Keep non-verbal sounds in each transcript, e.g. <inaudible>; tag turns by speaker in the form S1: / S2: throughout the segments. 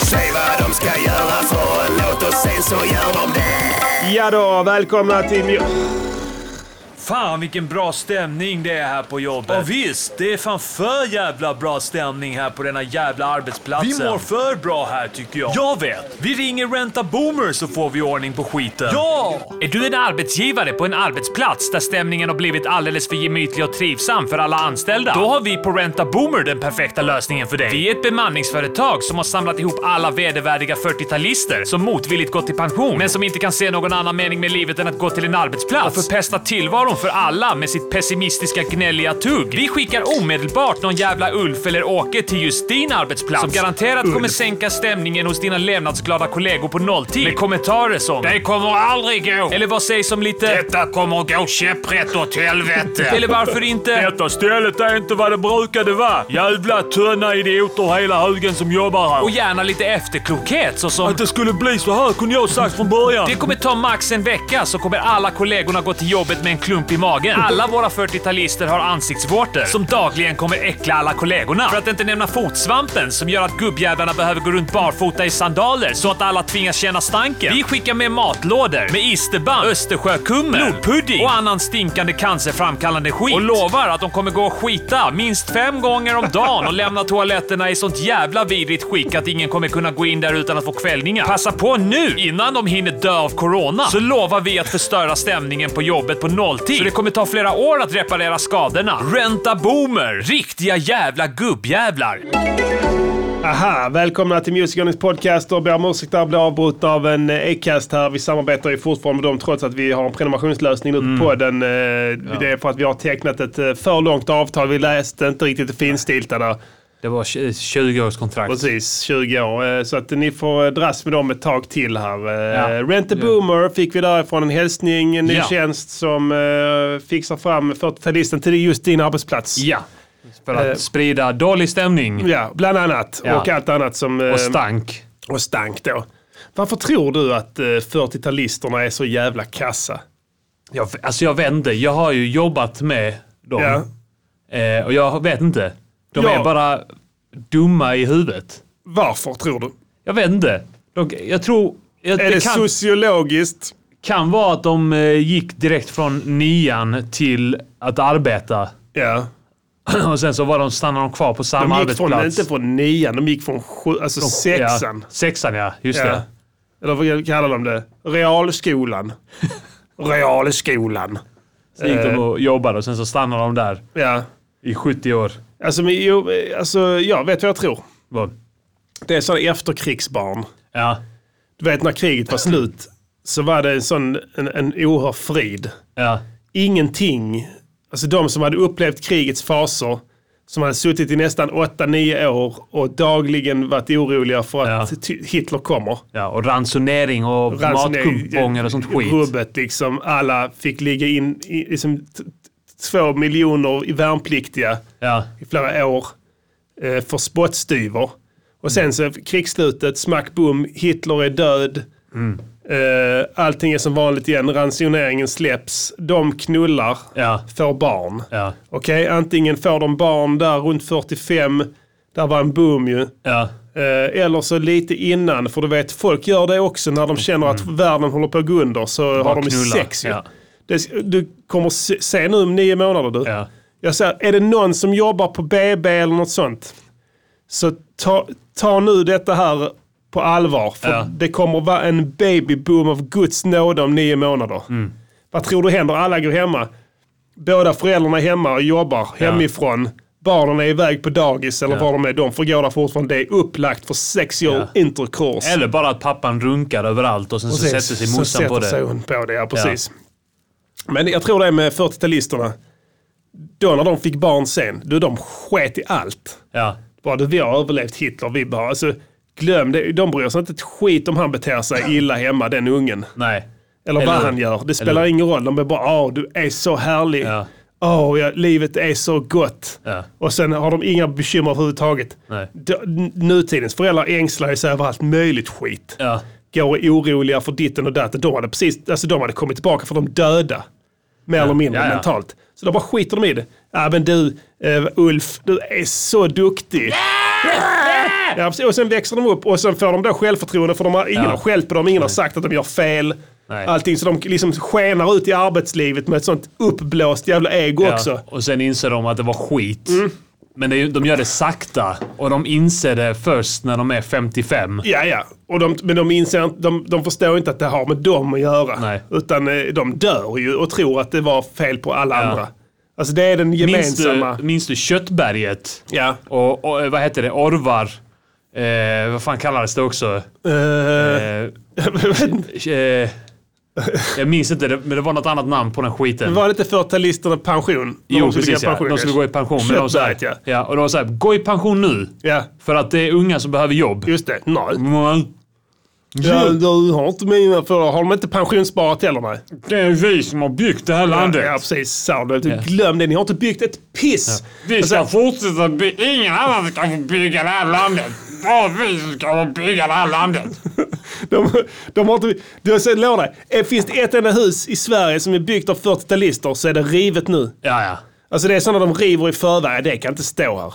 S1: Säg vad de ska göra för en låt och sen så gör de det.
S2: Ja då, välkomna till... Mju-
S3: Fan vilken bra stämning det är här på jobbet. Och visst, det är fan för jävla bra stämning här på denna jävla arbetsplatsen. Vi mår för bra här tycker jag. Jag vet! Vi ringer Renta Boomer så får vi ordning på skiten. Ja!
S4: Är du en arbetsgivare på en arbetsplats där stämningen har blivit alldeles för gemytlig och trivsam för alla anställda? Då har vi på Renta Boomer den perfekta lösningen för dig. Vi är ett bemanningsföretag som har samlat ihop alla vedervärdiga 40-talister som motvilligt gått i pension, men som inte kan se någon annan mening med livet än att gå till en arbetsplats och förpesta tillvaron för alla med sitt pessimistiska gnälliga tugg. Vi skickar omedelbart någon jävla Ulf eller Åke till just din arbetsplats som garanterat kommer sänka stämningen hos dina levnadsglada kollegor på nolltid med kommentarer som “Det kommer aldrig gå” eller vad sägs om lite “Detta kommer gå käpprätt åt helvete” <laughs> eller varför inte
S3: Detta stället är inte vad det brukade vara. Jävla tunna idioter hela högen som jobbar här.
S4: och gärna lite efterklokhet såsom
S3: det skulle bli så här kunde jag sagt från början.
S4: Det kommer ta max en vecka så kommer alla kollegorna gå till jobbet med en klump i magen. Alla våra 40-talister har ansiktsvårtor som dagligen kommer äckla alla kollegorna. För att inte nämna fotsvampen som gör att gubbjävlarna behöver gå runt barfota i sandaler så att alla tvingas känna stanken. Vi skickar med matlådor med isterband, östersjökummer, blodpudding och annan stinkande cancerframkallande skit. Och lovar att de kommer gå och skita minst fem gånger om dagen och lämna toaletterna i sånt jävla vidrigt skick att ingen kommer kunna gå in där utan att få kvällningar. Passa på nu innan de hinner dö av corona så lovar vi att förstöra stämningen på jobbet på nolltid. Så det kommer ta flera år att reparera skadorna. Renta boomer! Riktiga jävla gubbjävlar!
S2: Aha, välkomna till Music Earnings Podcast och ber om ursäkt där jag blev avbrutet av en eh, Acast här. Vi samarbetar ju fortfarande med dem trots att vi har en prenumerationslösning nu
S5: Mm.
S2: på podden. Eh, Det är för att vi har tecknat ett eh, för långt avtal. Vi läste inte riktigt det finstilta där.
S5: Det var 20-årskontrakt.
S2: Precis, 20 år. Eh, Så att ni får eh, dras med dem ett tag till här. Eh,
S5: Ja.
S2: Rent a Boomer fick vi därifrån en hälsning, en ny
S5: Ja.
S2: tjänst som eh, fixar fram 40-talisten till just din arbetsplats.
S5: Ja. För
S4: Eh.
S5: att sprida dålig stämning
S2: Ja, bland annat.
S5: Ja.
S2: Och allt annat som... eh,
S5: och stank.
S2: och stank då. Varför tror du att eh, 40-talisterna är så jävla kassa?
S5: Jag, alltså jag vet inte. Jag har ju jobbat med dem.
S2: Ja.
S5: Eh, och jag vet inte. De
S2: Ja.
S5: är bara dumma i huvudet.
S2: Varför tror du?
S5: Jag vet inte. De, jag tror... Jag,
S2: Är det,
S5: det kan,
S2: sociologiskt?
S5: kan vara att de eh, gick direkt från nian till att arbeta. <clears throat>
S2: Ja.
S5: Och sen så var de, stannade de kvar på samma
S2: De gick
S5: arbetsplats.
S2: från, inte från nian, de gick från sju, alltså sexan.
S5: Ja, sexan ja, just
S2: Ja.
S5: det.
S2: Eller vad kallar de det? Realskolan. Realskolan.
S5: Sen gick
S2: Eh.
S5: de och jobbade och sen så stannade de där
S2: Ja.
S5: i 70 år.
S2: Alltså, men, jo, alltså, jag vet vad jag tror.
S5: Vad?
S2: Det är sådana efterkrigsbarn.
S5: Ja,
S2: Du vet när kriget var slut så var det en sån en, en oerhörd frid.
S5: ja.
S2: ingenting. Alltså de som hade upplevt krigets faser, som hade suttit i nästan 8-9 år och dagligen varit oroliga för att
S5: Ja.
S2: ty- Hitler kommer.
S5: Ja, och ransonering och matkuponger och sånt skit.
S2: Rubbet liksom. Alla fick ligga in i liksom, t- t- två miljoner i värnpliktiga
S5: Ja,
S2: i flera år eh, för spottstyver. Och sen så krigsslutet, smack bom, Hitler är död. Eh, allting är som vanligt igen, ransoneringen släpps. De knullar,
S5: Ja.
S2: får barn.
S5: ja,
S2: Okej, antingen får de barn där runt 45, där var en boom ju.
S5: ja.
S2: Eh, Eller så lite innan, för du vet folk gör det också när de känner att världen håller på att gå under så har de ju
S5: Mm. knulla,
S2: sex ju.
S5: ja.
S2: Det, du kommer se, se nu om nio månader du.
S5: Ja.
S2: Jag säger, är det någon som jobbar på BB eller något sånt, så ta, ta nu detta här på allvar. För
S5: Ja.
S2: det kommer vara en babyboom av guds nåde om nio månader.
S5: Mm.
S2: Vad tror du händer? Alla går hemma. Båda föräldrarna är hemma och jobbar hemifrån. Barnen är iväg på dagis eller var de är. De får gå där fortfarande. Det är upplagt för sexual intercourse.
S5: Eller bara att pappan runkar överallt och sen så sätter sig
S2: Så
S5: morsan
S2: sätter
S5: på det.
S2: sig hon på det, ja precis. Men jag tror det är med 40-talisterna. Då när de fick barn sen, du de sket i allt.
S5: Ja,
S2: Bara du, vi har överlevt Hitler, vi bara, alltså glöm det. De bryr sig inte ett skit om han beter sig illa hemma, den ungen.
S4: Nej.
S2: Eller,
S4: Eller-
S2: vad han gör. Det spelar ingen roll. De är bara åh, du är så härlig.
S4: Ja.
S2: Åh, ja, livet är så gott.
S4: Ja.
S2: Och sen har de inga bekymmer överhuvudtaget.
S4: Nej.
S2: D- n- nutidens föräldrar ängslar ju sig över allt möjligt skit.
S4: Ja.
S2: Går oroliga för ditten och datten. De hade, precis, alltså, de hade kommit tillbaka för de döda. Mer eller mindre
S4: Ja, ja.
S2: mentalt. Så då bara skiter de i det. Ja, men du eh, Ulf, du är så duktig. Ja, precis. och sen växer de upp och sen får de då självförtroende för de har, ingen
S4: Ja.
S2: har skällt på dem, ingen har sagt att de gör fel.
S4: Nej.
S2: Allting så de liksom skenar ut i arbetslivet med ett sånt uppblåst jävla ego också.
S4: Och sen inser de att det var skit. Men det är, ju- de gör det sakta. Och de inser det först när de är 55.
S2: Ja, ja. Och de, men de, inser, inte- de, de förstår inte att det har med dem att göra.
S4: Nej.
S2: Utan eh, de dör ju och tror att det var fel på alla
S4: Ja.
S2: andra. Alltså det är den
S4: Minns
S2: gemensamma...
S4: du, minns du Köttberget?
S2: Ja.
S4: Och, och eh, vad heter det? Orvar. Eh, vad fan kallades det också?
S2: Eh, <laughs>
S4: Eh, eh, jag minns inte, det- men det var något annat namn på den skiten.
S2: var det inte 40-talisterna pension?
S4: Jo,
S2: de skulle
S4: precis
S2: gå i
S4: ja. De skulle gå i pension. Men de sa,
S2: Köttberget, ja.
S4: ja. Och de var såhär, gå i pension nu.
S2: Ja,
S4: För att det är unga som behöver jobb.
S2: just det. Nej.
S4: Mm.
S2: Ja, du har inte mina för Har de inte pensionssparat heller? Nej.
S4: Det är vi som har byggt det här landet.
S2: Ja, precis. Så, du, du, glöm det. Ni har inte byggt ett piss.
S4: Vi ska fortsätta bygga. Ingen annan ska få bygga det här landet. Bara vi som ska få bygga det här landet.
S2: De, de har inte... Du, så, lova dig. Eh, Finns det ett enda hus i Sverige som är byggt av 40-talister så är det rivet nu.
S4: Ja, ja.
S2: Alltså det är sådana de river i förväg. Det kan inte stå här.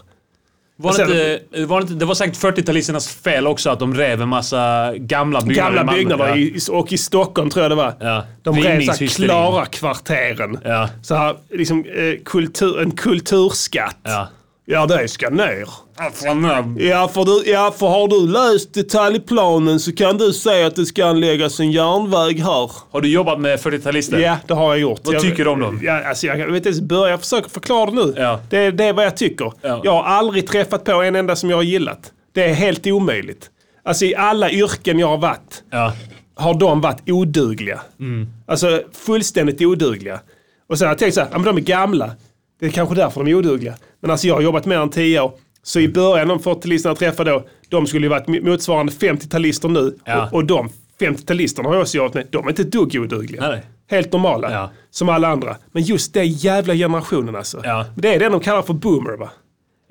S4: Var det,
S2: Och sen-
S4: inte, eh, var det, inte, det var säkert 40-talisternas fel också att de rev en massa gamla byggnader i
S2: Gamla
S4: Malmö.
S2: byggnader
S4: Ja.
S2: i, och i Stockholm tror jag det var.
S4: Ja.
S2: De rev så här
S4: Rivningshysterin.
S2: klara kvarteren.
S4: Ja.
S2: Så här, liksom, eh, kultur, en kulturskatt.
S4: Ja.
S2: ja, det ska ner.
S4: Alltså, nu-
S2: Ja för, du, ja, för har du läst detaljplanen så kan du säga att det ska anläggas en järnväg här.
S4: Har du jobbat med 40-talister?
S2: Ja, det har jag gjort.
S4: Vad
S2: jag,
S4: tycker du om dem?
S2: Ja, alltså, jag, jag vet inte ens börja. Jag försöker förklara det nu.
S4: Ja.
S2: Det, är- det är vad jag tycker.
S4: Ja.
S2: Jag har aldrig träffat på en enda som jag har gillat. Det är helt omöjligt. Alltså i alla yrken jag har varit
S4: Ja.
S2: har de varit odugliga.
S4: Mm.
S2: Alltså fullständigt odugliga. Och sen har jag tänkt så här, ja, men de är gamla. Det är kanske därför de är odugliga. Men alltså jag har jobbat mer än 10 år. Så
S4: Mm.
S2: i början, de 40-talisterna jag träffade då, de skulle ju varit motsvarande 50-talister nu.
S4: Ja.
S2: Och, och de 50-talisterna har jag också jobbat med, de är inte ett dugg odugliga.
S4: Nej.
S2: Helt normala,
S4: Ja.
S2: som alla andra. Men just den jävla generationen alltså.
S4: Ja.
S2: Det är den de kallar för boomer va?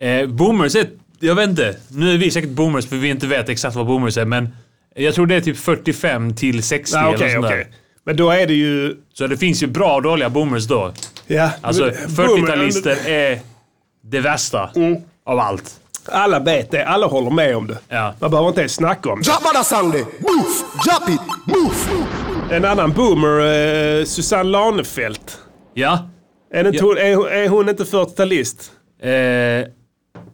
S4: Eh, boomers är... Jag vet inte. Nu är vi säkert boomers för vi inte vet exakt vad boomers är, men jag tror det är typ 45 till 60
S2: Ja,
S4: eller
S2: Okej,
S4: sånt där.
S2: okej. Men då är det ju...
S4: Så det finns ju bra och dåliga boomers då.
S2: Ja,
S4: Alltså,
S2: men- eh, boomer- Mm.
S4: 40-talister är det värsta av allt.
S2: Alla vet det, alla håller med om det.
S4: Ja.
S2: Man behöver inte ens snacka om det.
S1: Drop that song there. Move. Drop it. Move.
S2: En annan boomer, eh, Susanne Lanefelt.
S4: Ja.
S2: Är, det inte hon, är, hon- är hon inte 40-talist?
S4: Eh,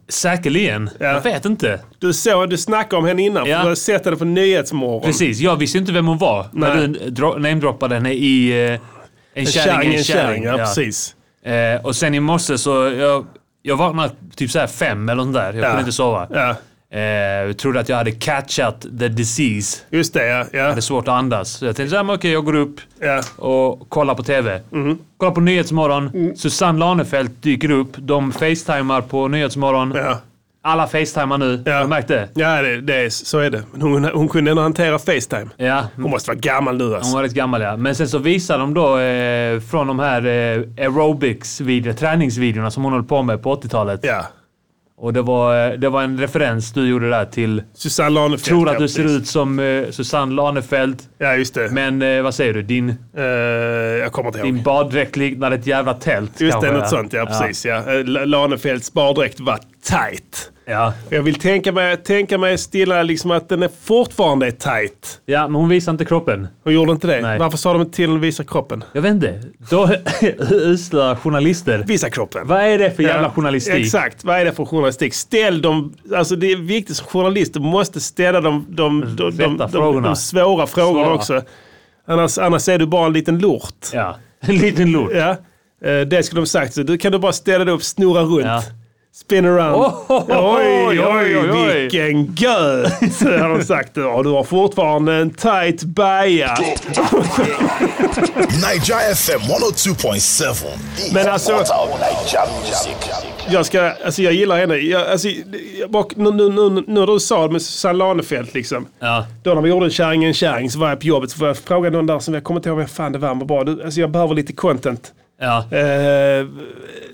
S4: säkerligen. Jag vet inte.
S2: Du, såg- du snackade om henne innan,
S4: Ja.
S2: för du har sett henne på Nyhetsmorgon.
S4: Precis, jag visste inte vem hon var när
S2: Nej.
S4: du dro- namedroppade henne i eh, En kärring, en kärring.
S2: ja,
S4: ja.
S2: precis.
S4: Eh, och sen i morse så... Jag, jag vaknade typ så här fem eller sånt där. Jag kunde inte sova.
S2: Ja,
S4: Eh, trodde att jag hade catchat the disease.
S2: just det. Ja, ja,
S4: Det är svårt att andas. Så jag tänkte såhär, okej jag går upp
S2: ja. Mhm.
S4: och kollar på TV. Kollar på Nyhetsmorgon.
S2: Mm.
S4: Susanne Lanefelt dyker upp. De facetimar på Nyhetsmorgon.
S2: Ja.
S4: Alla facetimar nu.
S2: Ja.
S4: Har du märkt det?
S2: Ja, det, det är, så är det. Men hon, hon kunde ändå hantera Facetime.
S4: Ja.
S2: Hon måste vara gammal nu
S4: Hon
S2: alltså.
S4: var rätt gammal ja. Men sen så visar de då eh, från de här eh, aerobics-videorna, träningsvideorna som hon höll på med på 80-talet.
S2: Ja.
S4: Och det var, eh, det var en referens du gjorde där till...
S2: Susanne Lanefelt.
S4: Tror
S2: ja,
S4: att du
S2: precis.
S4: ser ut som eh, Susanne Lanefelt.
S2: Ja, just det.
S4: Men eh, vad säger du? Din,
S2: Eh, jag kommer inte ihåg.
S4: din baddräkt liknar ett jävla tält.
S2: Just det,
S4: kanske,
S2: något sånt. Ja, precis. Ja. Eh, La- Lanefelts bardräkt var tight.
S4: Ja.
S2: Jag vill tänka mig, tänka mig stilla liksom att den är fortfarande är tight.
S4: ja, men hon visar inte kroppen.
S2: Hon gjorde inte det.
S4: Nej.
S2: Varför sa de inte till att visa kroppen?
S4: Jag vet inte. Då, <laughs> usla journalister.
S2: Visa kroppen.
S4: Vad är det för jävla
S2: Ja,
S4: journalistik?
S2: Exakt. Vad är det för journalistik? Ställ dem... Alltså det är viktigt som journalist. Du måste ställa de, de, de, de,
S4: Rätta
S2: de, de,
S4: Mm, frågorna.
S2: svåra frågorna
S4: Svara.
S2: också. Annars, annars är du bara en liten lort.
S4: Ja. <laughs> En liten lort.
S2: Ja. Eh, Det skulle de sagt. Så du kan du bara ställa dig upp, snurra runt.
S4: Ja.
S2: Spin around. oj, oj,
S4: oj, oj.
S2: vilken göt! <laughs> Har de sagt. Ja, du har fortfarande en tight baja.
S6: Niger FM 102.7.
S2: Men alltså, jag, ska, alltså jag gillar henne. Jag, alltså, jag, bak, nu, nu, nu, nu när du sa det med Susanne Lanefelt liksom.
S4: Ja.
S2: Då när vi gjorde en kärring en kärring så var jag på jobbet så jag frågade någon där som jag kommer inte ihåg vem fan det var. Men bara, du, alltså jag behöver lite content.
S4: Ja.
S2: Eh,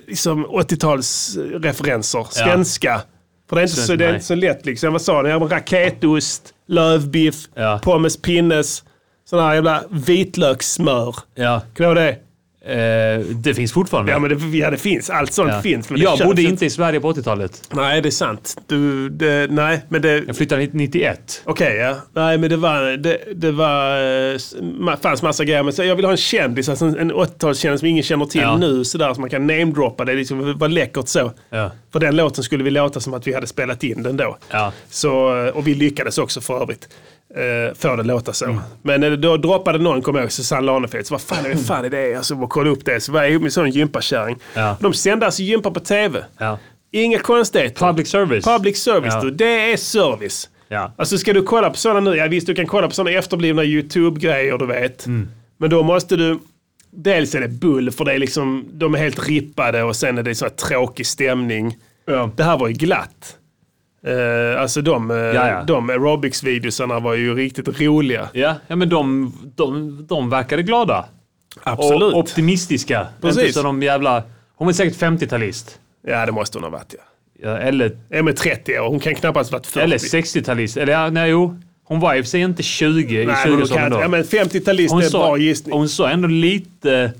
S2: liksom 80-talsreferenser. Svenska. För det är, inte så, det är
S4: nej.
S2: inte så lätt liksom. Vad sa ni? Ja, men Raketost, lövbiff,
S4: Ja.
S2: pommes pinnes, sådana här jävla vitlökssmör.
S4: Ja.
S2: Kommer du ihåg det?
S4: Eh, det finns fortfarande.
S2: Ja, men det, ja, det finns. Allt sånt
S4: Ja.
S2: finns. Men det
S4: jag
S2: köps
S4: bodde inte i Sverige på 80-talet.
S2: Nej, det är sant. Du, det, nej, men det...
S4: Jag flyttade hit 91.
S2: Okej, ja. Nej, men det var... Det, det var, eh, ma- fanns massa grejer. Men så jag vill ha en kändis, alltså en en 80-talskändis som ingen känner till
S4: Ja.
S2: nu, sådär, som man kan namedroppa. Det är liksom, var läckert så.
S4: Ja.
S2: För den låten skulle vi låta som att vi hade spelat in den då.
S4: Ja.
S2: Så, eh, och vi lyckades också för övrigt. eh, Få det låta så.
S4: Mm.
S2: Men eh, då droppade någon, kommer jag ihåg, Susanne Lanefelt. Så vad fan är det, fan är det? Jag så bara kollade upp det. Så var jag ihop med en sån gympakärring.
S4: Ja.
S2: De sände alltså gympa på tv.
S4: Ja.
S2: Inga konstigheter.
S4: Public service.
S2: Public service,
S4: Ja.
S2: du. Det är service.
S4: Ja.
S2: Alltså ska du kolla på sådana nu, ja visst du kan kolla på sådana efterblivna YouTube-grejer du vet.
S4: Mm.
S2: Men då måste du, dels är det bull för det är liksom, de är helt rippade och sen är det så här tråkig stämning. Det här var ju glatt. Eh, alltså de, eh,
S4: ja.
S2: de aerobics-videosarna var ju riktigt roliga.
S4: Ja, ja men de, de, de verkade glada. Och optimistiska.
S2: Precis.
S4: Inte så de jävla... Hon är säkert 50-talist.
S2: Ja det måste hon ha varit ja.
S4: Ja, eller,
S2: Ja men 30 år, hon kan knappast varit 40.
S4: eller 60-talist. Eller ja, nej jo. Hon var i och för sig inte 20
S2: Nej,
S4: i
S2: men hon kan,
S4: 20-årsåldern då.
S2: ja men 50-talist
S4: hon,
S2: är en bra
S4: såg,
S2: gissning.
S4: hon såg ändå lite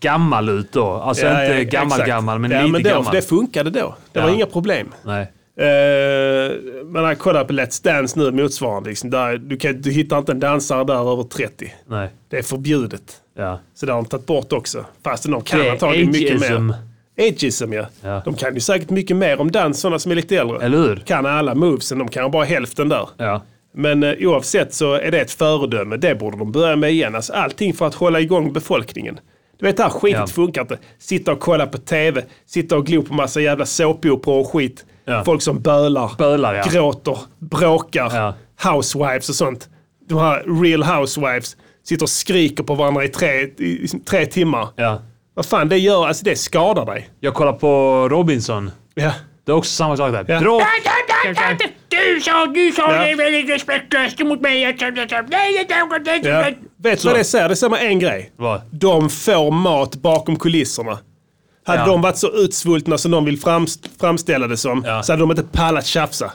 S4: gammal ut då. Alltså
S2: Ja,
S4: inte
S2: ja,
S4: gammal
S2: exakt.
S4: gammal, men
S2: ja,
S4: lite
S2: men då,
S4: gammal.
S2: Det funkade då. Det var
S4: Ja.
S2: inga problem.
S4: Nej.
S2: Eh, men jag kollar på Let's Dance nu motsvarande. Liksom, där, du, kan, du hittar inte en dansare där över 30.
S4: Nej.
S2: Det är förbjudet.
S4: Ja.
S2: Så det har de tagit bort också. Fast de kan
S4: Det är
S2: antagligen mycket
S4: ageism.
S2: mer. Ageism ja.
S4: Ja.
S2: De kan ju säkert mycket mer om dans, sådana som är lite äldre.
S4: Eller hur?
S2: Kan alla movesen, de kan bara hälften där.
S4: Ja.
S2: Men eh, oavsett så är det ett föredöme. Det borde de börja med igen. Alltså, allting för att hålla igång befolkningen. Du vet det här skitet
S4: Ja.
S2: funkar inte. Sitta och kolla på TV, sitta och glo på massa jävla såpoperor och skit.
S4: Ja.
S2: Folk som bölar,
S4: Bölar, ja.
S2: gråter, bråkar,
S4: Ja.
S2: housewives och sånt. De här real housewives sitter och skriker på varandra i tre, i, i tre timmar.
S4: ja.
S2: Vad fan det gör, alltså det skadar dig.
S4: Jag kollar på Robinson.
S2: Ja.
S4: Det är också samma sak där.
S2: Ja.
S4: Drog...
S7: Du sa, du sa
S2: Ja.
S7: det är väldigt respektlöst mot mig. Jag sa, jag sa, nej, det är något, det är
S2: Ja.
S7: inte-
S2: Vet du vad det säger? Det säger mig en grej.
S4: Vad?
S2: De får mat bakom kulisserna. Hade
S4: Ja.
S2: de varit så utsvultna som de vill framst- framställa det som,
S4: Ja.
S2: så hade de inte pallat tjafsa.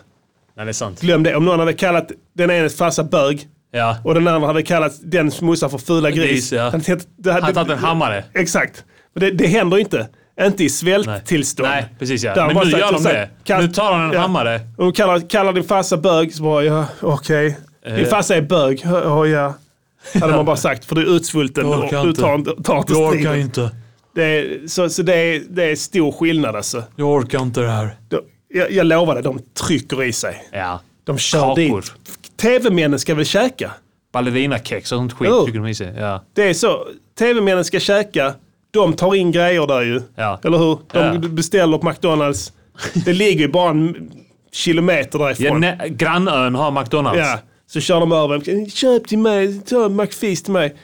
S4: Nej, det är sant.
S2: Glöm det. Om någon hade kallat den ena farsa bög
S4: Ja.
S2: och den andra hade kallat den morsa för fula gris.
S4: Gris, ja.
S2: Han tänkte- det hade-
S4: Han tagit en hammare.
S2: Exakt. Men det, det händer inte. Inte i
S4: Nej.
S2: svälttillstånd.
S4: Nej, precis ja.
S2: Där
S4: Men
S2: var
S4: nu
S2: så-
S4: gör de
S2: så-
S4: det.
S2: kast-
S4: Nu tar han en hammare.
S2: Och de kallar, kallar din farsa bög, så bara ja, okej. Din
S4: Eh.
S2: farsa är bög, ja, ja, ja. Hade man bara sagt, för du är utsvulten
S4: Jag
S2: och
S4: orkar
S2: du
S4: inte.
S2: tar inte, tar inte
S4: Jag orkar
S2: striden.
S4: inte.
S2: Det är, så så det, är, det är stor skillnad alltså.
S4: Jag orkar inte det här.
S2: De- Jag, jag lovar dig, de trycker i sig.
S4: Ja.
S2: De kör
S4: Kakor.
S2: dit. TV-männen ska väl käka?
S4: Ballerinakex och sånt skit
S2: Jo.
S4: tycker de i sig. Ja.
S2: Det är så. TV-männen ska käka. De tar in grejer där ju.
S4: Ja.
S2: Eller hur? De
S4: Ja.
S2: beställer på McDonalds. Det ligger ju bara en kilometer
S4: Ja,
S2: därifrån.
S4: nä- grannön har McDonalds.
S2: Ja, så kör de över. Köp till mig, ta en McFeast till mig.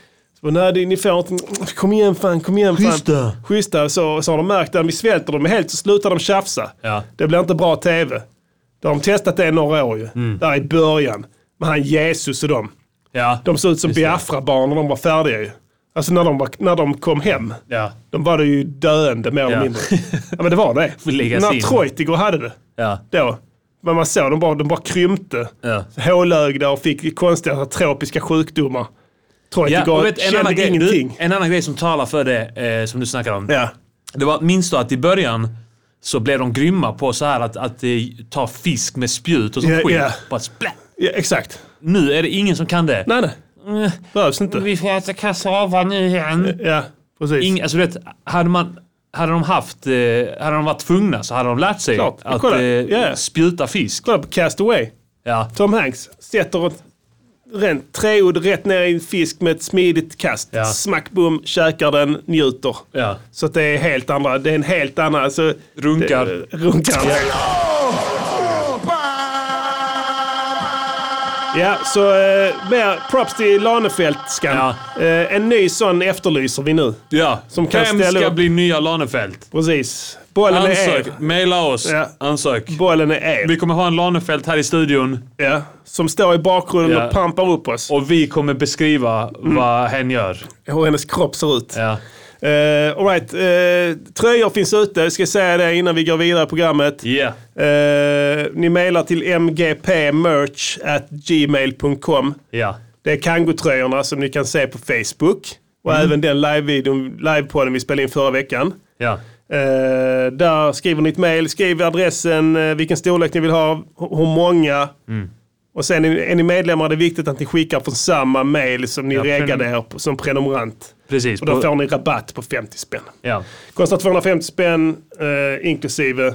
S2: Så, bara, Nej, det- ni får inte. Kom igen fan, kom igen fan.
S4: Schyssta.
S2: Schyssta. Så, så har de märkt att vi svälter dem helt så slutar de tjafsa.
S4: Ja.
S2: Det blir inte bra tv. Då har de testat det i några år ju.
S4: Mm.
S2: Där i början. Med han Jesus och dem.
S4: Ja.
S2: De såg ut som
S4: Just det.
S2: Biafra-barn när de var färdiga ju. Alltså när de, var, när de kom hem.
S4: Ja.
S2: De var det ju döende mer eller
S4: Ja.
S2: mindre. Ja men det
S4: <laughs>
S2: var det.
S4: läggas
S2: När
S4: in.
S2: Treutiger hade det.
S4: Ja.
S2: Då. Men man såg, de bara, de bara krympte.
S4: Ja.
S2: Hålögda och fick konstiga tropiska sjukdomar.
S4: Ja,
S2: Treutiger
S4: och vet, en, annan
S2: kände
S4: grej, du,
S2: ingenting.
S4: en annan grej som talar för det eh, som du snackar om.
S2: Ja.
S4: Det var, minns du att i början så blev de grymma på så här att, att eh, ta fisk med spjut och sånt
S2: Ja,
S4: skit.
S2: ja.
S4: Bara splatt.
S2: ja, exakt.
S4: Nu är det ingen som kan det.
S2: Nej, nej. Behövs inte.
S7: Vi får äta kassava nu igen.
S2: Ja, precis.
S4: Mm. Ing, alltså, du vet, hade, man, hade de haft, eh, hade de varit tvungna så hade de lärt sig
S2: Klart.
S4: att
S2: Kolla.
S4: eh,
S2: Ja, ja.
S4: spjuta fisk.
S2: Kolla på Cast Away.
S4: Ja.
S2: Tom Hanks sätter ett rent treod rätt ner i en fisk med ett smidigt kast.
S4: Ja.
S2: Smack, bum, käkar den, njuter.
S4: Ja.
S2: Så att det är helt andra, det är en helt annan... Alltså,
S4: Runkar.
S2: Det, runkar. Ja, så eh, mer props till Lanefelt-skan. Eh, en ny sån efterlyser vi nu.
S4: Ja.
S2: Som kan
S4: Vem
S2: ställa
S4: ska
S2: upp.
S4: bli nya Lanefelt?
S2: Precis. Bollen är er.
S4: Ansök. Maila oss.
S2: Ja.
S4: Ansök.
S2: Bollen är er.
S4: Vi kommer ha en Lanefelt här i studion
S2: Ja, som står i bakgrunden
S4: Ja.
S2: och pampar upp oss.
S4: och vi kommer beskriva
S2: Mm.
S4: vad hen gör.
S2: Hur hennes kropp ser ut.
S4: Ja.
S2: Eh, all right. eh, tröjor finns ute, jag ska säga det innan vi går vidare i programmet.
S4: Yeah.
S2: Eh, ni mejlar till mgpmerch.gmail.com.
S4: Ja.
S2: Det är kangotröjorna som ni kan se på Facebook. Och
S4: Mm.
S2: även den live-videon, livepodden vi spelade in förra veckan.
S4: Ja.
S2: Eh, där skriver ni ett mejl, skriv adressen, eh, vilken storlek ni vill ha, h- hur många.
S4: Mm.
S2: Och sen är ni- är ni medlemmar är det viktigt att ni skickar från samma mejl som ni reggade er på, som prenumerant.
S4: Precis.
S2: Och då
S4: På-
S2: får ni rabatt på 50 spänn.
S4: Ja.
S2: Kostar 250 spänn eh, inklusive eh,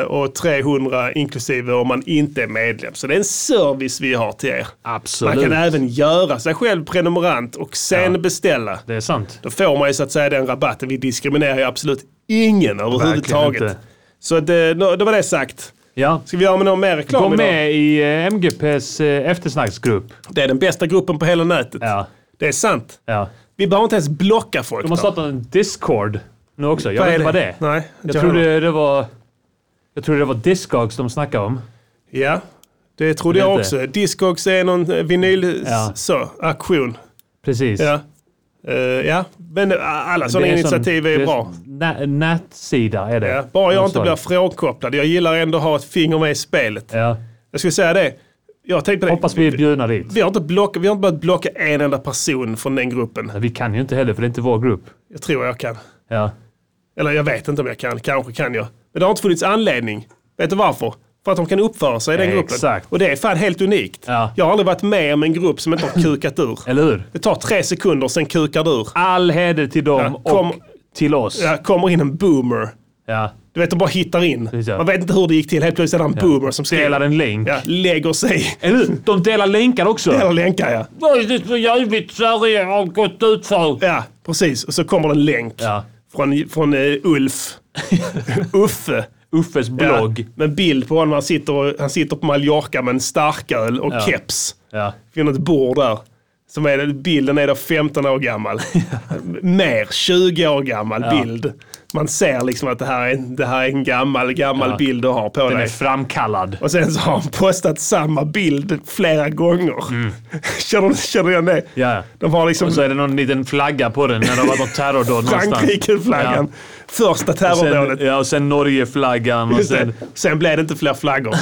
S4: Mm.
S2: och 300 inklusive om man inte är medlem. Så det är en service vi har till er.
S4: Absolut.
S2: Man kan även göra sig själv prenumerant och sen beställa.
S4: Det är sant.
S2: Då får man ju så att säga den rabatten. Vi diskriminerar ju absolut ingen överhuvudtaget.
S4: inte.
S2: Så det, då, då var det sagt.
S4: Ja.
S2: Ska vi göra med någon mer reklam
S4: Gå
S2: idag?
S4: med i eh, MGPs eh, eftersnacksgrupp.
S2: Det är den bästa gruppen på hela nätet.
S4: Ja.
S2: Det är sant.
S4: Ja.
S2: Vi behöver inte ens blocka folk.
S4: De har
S2: då.
S4: startat en Discord nu också. Jag
S2: Vad
S4: vet
S2: är
S4: inte vad det är.
S2: Nej, inte
S4: Jag trodde det var... Jag trodde det var Discogs de snackade om.
S2: Ja, det trodde jag
S4: Inte.
S2: också. Discogs är någon eh, vinyl
S4: Ja.
S2: så, aktion.
S4: Precis.
S2: Ja. Eh, ja, men eh, alla sådana
S4: Det en
S2: initiativ
S4: sån-
S2: är
S4: det en
S2: bra.
S4: sån nä- Nätsida är det.
S2: Ja, bara jag inte
S4: Någon
S2: blir
S4: sån.
S2: frånkopplad. Jag gillar ändå att ha ett finger med i spelet.
S4: Ja.
S2: Jag skulle säga det. Jag tänkte på det.
S4: Hoppas vi är bjudna dit.
S2: Vi har, inte blocka, vi har inte behövt blocka en enda person från den gruppen.
S4: Vi kan ju inte heller för det är inte vår grupp.
S2: Jag tror jag kan.
S4: Ja.
S2: Eller jag vet inte om jag kan. Kanske kan jag. Men det har inte funnits anledning. Vet du varför? För att de kan uppföra sig i den gruppen.
S4: Exakt.
S2: Och det är fan helt unikt.
S4: Ja.
S2: Jag har aldrig varit med om en grupp som inte har kukat ur.
S4: Eller hur?
S2: Det tar tre sekunder, sen kukar du ur.
S4: All heder till dem
S2: Ja, kom-
S4: och till oss.
S2: Där kommer in en boomer.
S4: Ja.
S2: Du vet, de bara hittar in.
S4: Precis, ja.
S2: Man vet inte hur det gick till. Helt plötsligt är det en boomer som skriver.
S4: Delar en länk.
S2: Ja, lägger sig.
S4: Eller hur? De delar länkar också.
S2: Eller länkar, ja.
S7: Vad är det för jävligt Sverige har gått ut för?
S2: Ja, precis. Och så kommer det en länk.
S4: Ja.
S2: Från, från eh,
S4: <laughs>
S2: Ulf. Uffe.
S4: Uffes
S2: Ja,
S4: blogg.
S2: Med en bild på honom. Han sitter, och- han sitter på Mallorca med en starköl och keps.
S4: Ja.
S2: Vid något bord där. Som är, bilden är då 15
S4: <laughs>
S2: år gammal. Mer, 20 år gammal bild. Man ser liksom att det här är, det här är en gammal, gammal
S4: Ja.
S2: bild du har på
S4: Den
S2: dig.
S4: är framkallad.
S2: Och sen så har han postat samma bild flera gånger. <laughs> känner, du- känner du igen det?
S4: Mm. Ja.
S2: De har liksom
S4: Och så är det någon liten flagga på den när det har varit något terrordåd någonstans.
S2: Frankrike-flaggan. Första
S4: Ja.
S2: terrordådet.
S4: Sen, ja, och sen Norge-flaggan och
S2: Just det.
S4: sen
S2: <laughs> Sen blev det inte
S4: <laughs>
S2: fler flaggor.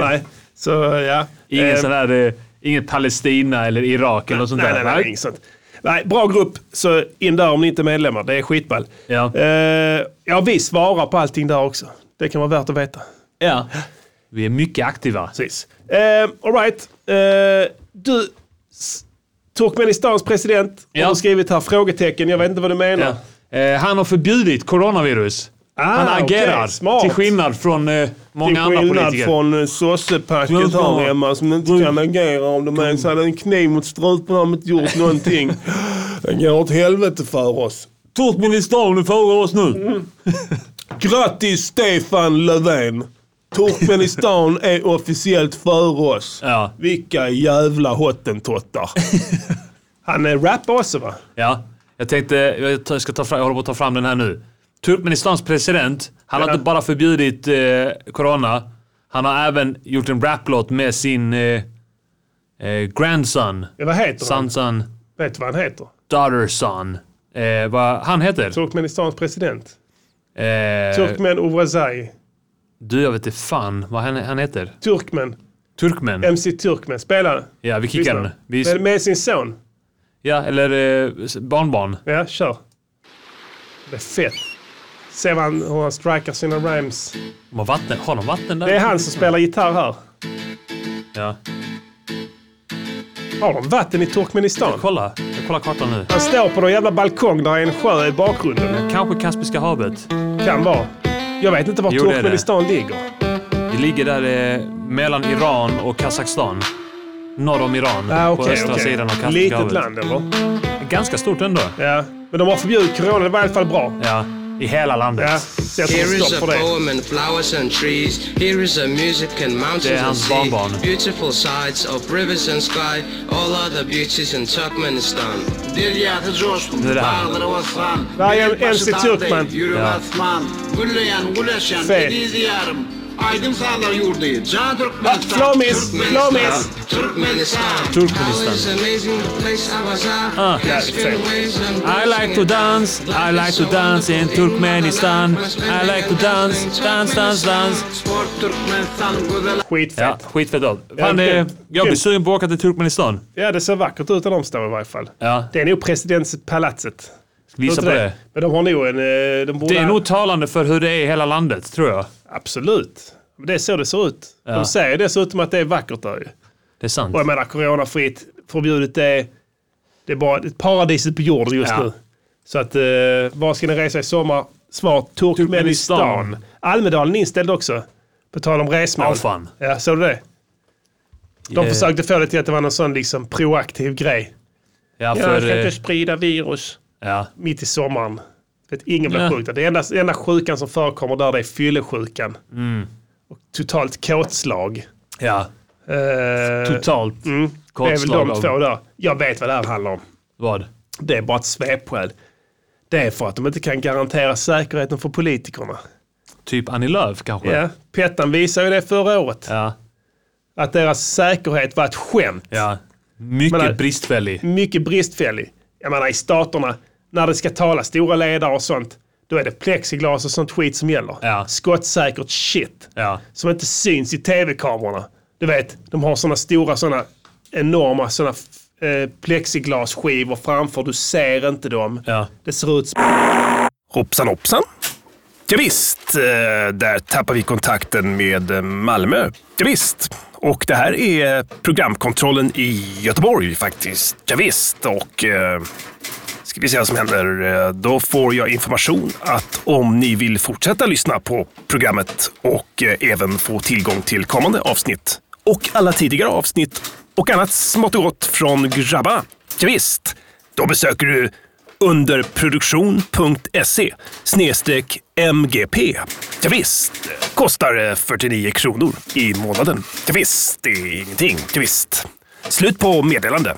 S2: nej. Så ja.
S4: ingen
S2: Eh,
S4: sån här, eh, inget Palestina eller Irak eller något sånt
S2: nej,
S4: där.
S2: nej, nej, inget sånt. Nej, bra grupp, så in där om ni inte är medlemmar. Det är skitball.
S4: Ja.
S2: Eh, ja, vi svarar på allting där också. Det kan vara värt att veta.
S4: Ja. Vi är mycket aktiva.
S2: Precis. Eh, all right. Eh, du, s- Turkmenistans president,
S4: Ja.
S2: har du skrivit här frågetecken. Jag vet inte vad du menar.
S4: Ja. Eh, han har förbjudit coronavirus. han
S2: Ah, okej,
S4: agerar.
S2: smart.
S4: Till skillnad från eh, många
S2: Till
S4: andra
S2: skillnad
S4: politiker.
S2: från eh, sossepacket här hemma som inte kan agera om de ens hade en kniv mot strupen och inte gjort <laughs> någonting. Det går åt helvete för oss.
S4: Turkmenistan, du frågar oss nu.
S2: Grattis Stefan Löfven!
S4: <laughs>
S2: Turkmenistan är officiellt för oss.
S4: Ja.
S2: Vilka jävla hottentottar. Han är rappar också va?
S4: Ja, jag tänkte, jag ta- ska ta fram, jag håller på att ta fram den här nu. Turkmenistans president, han har
S2: Ja.
S4: inte bara förbjudit eh, corona, han har även gjort en raplåt med sin eh, eh, grandson,
S2: Ja, vad heter han?
S4: Sansan,
S2: Vet du vad han heter?
S4: daughterson. Eh, vad han heter?
S2: Turkmenistans president.
S4: Eh,
S2: Turkmen Ovrazai.
S4: du, jag vet inte fan vad han, han heter.
S2: Turkmen.
S4: Turkmen.
S2: MC Turkmen. Spelare.
S4: Ja, vi kickar den. Vi,
S2: Med, med sin son.
S4: ja, eller eh, s- barnbarn.
S2: Ja, kör. Det är fett. Ser man hur han strikar sina rhymes.
S4: De har, vatten, har de vatten där?
S2: Det är han som spelar gitarr här.
S4: Ja.
S2: Har de vatten i Turkmenistan?
S4: Kolla, jag kollar kartan nu.
S2: Han står på någon jävla balkong där är en sjö i bakgrunden.
S4: Kanske Kaspiska havet.
S2: Kan vara. Jag vet inte var
S4: Jo, det är det.
S2: Turkmenistan ligger.
S4: Det ligger där eh, mellan Iran och Kazakstan. norr om Iran.
S2: Mm. Ah,
S4: på
S2: okej,
S4: östra
S2: okej.
S4: sidan av
S2: Litet
S4: Kastgavet.
S2: land eller?
S4: Ganska stort ändå.
S2: Ja. Men de har förbjudit corona. Det var i alla fall bra.
S4: Ja, i hela landet.
S2: Ja. Så jag
S8: Here
S2: tror
S8: is
S2: stopp
S8: a
S2: för det.
S8: poem and flowers and trees. Here is a music and
S4: Det är
S8: mountains and
S4: hans
S8: sea.
S4: barnbarn.
S8: Beautiful sights of rivers and sky. All other beauties in Turkmenistan.
S4: Nu är det här.
S2: Vad är en- en sitt Turkman?
S4: Ja.
S2: Fel.
S4: Ah,
S2: Flamis! Flamis!
S8: Turkmenistan.
S4: Turkmenistan.
S8: Is an amazing place, Avaza.
S4: Ah,
S8: Yes,
S2: that's
S8: fair
S2: it.
S8: ways and
S4: I like to dance, I like to dance in Turkmenistan. I like to dance, dance, dance, dance.
S8: Sport Turkmenistan, good luck.
S4: Ja,
S2: Skitfett.
S4: skitfett låt.
S2: Ja,
S4: Fan, eh,
S2: kul.
S4: jag blir
S2: Kul.
S4: sugen på att åka till Turkmenistan.
S2: Ja. det ser vackert ut där de står i varje fall.
S4: Ja,
S2: Det är nog presidentspalatset.
S4: visa på
S2: Tror inte
S4: det.
S2: Men de har nog en... eh, De borde
S4: Det är nog talande för hur det är i hela landet, tror jag.
S2: Absolut. Men Det är så det ser ut. De säger dessutom att det är vackert där ju.
S4: Det är sant.
S2: Och jag menar, coronafritt, förbjudet det. Det är bara ett paradiset på jorden just
S4: Ja.
S2: nu. Så att, eh, var ska ni resa i sommar? Svar Turkmenistan.
S4: Turkmenistan.
S2: Almedalen är inställd också. På tal om resmål.
S4: Åh, fan.
S2: Ja, såg du det? De
S4: Eh,
S2: försökte få det till att det var någon sån liksom proaktiv grej.
S4: Ja,
S2: Ja, jag
S4: för...
S2: ska
S4: eh,
S2: inte sprida virus
S4: Ja,
S2: mitt i sommaren. För att ingen blir
S4: Ja.
S2: sjuk där. Det enda, enda sjukan som förekommer där det är fyllesjukan.
S4: Mm.
S2: Och totalt kåtslag.
S4: ja.
S2: Eh,
S4: Totalt
S2: mm, det är väl
S4: kortslag
S2: de
S4: av-
S2: två där. Jag vet vad det här handlar om.
S4: Vad?
S2: Det är bara ett svepskäl. Det är för att de inte kan garantera säkerheten för politikerna.
S4: Typ Annie Lööf kanske?
S2: Ja, Pettan visade ju det förra året.
S4: Ja.
S2: Att deras säkerhet var ett skämt.
S4: ja. Mycket
S2: Men, eh,
S4: bristfällig.
S2: Mycket bristfällig. Jag menar i staterna, när det ska tala stora ledare och sånt, då är det plexiglas och sånt skit som gäller.
S4: Ja.
S2: Skottsäkert shit.
S4: Ja.
S2: Som inte syns i tv-kamerorna. Du vet, de har såna stora, såna enorma såna f- eh, plexiglasskivor framför. Du ser inte dem.
S4: Ja.
S2: Det ser ut som...
S1: Hoppsan hoppsan. Ja, visst, eh, där tappar vi kontakten med eh, Malmö. Ja, visst. Och det här är programkontrollen i Göteborg faktiskt. Ja, visst. och eh, ska vi se vad som händer. Eh, Då får jag information att om ni vill fortsätta lyssna på programmet och eh, även få tillgång till kommande avsnitt och alla tidigare avsnitt och annat smått och gott från grabba. Ja, visst. då besöker du underproduktion.se E snedstreck MGP. Ja, visst. kostar eh, 49 kronor i månaden. Ja, visst. det är ingenting. Ja, visst. Slut på meddelande.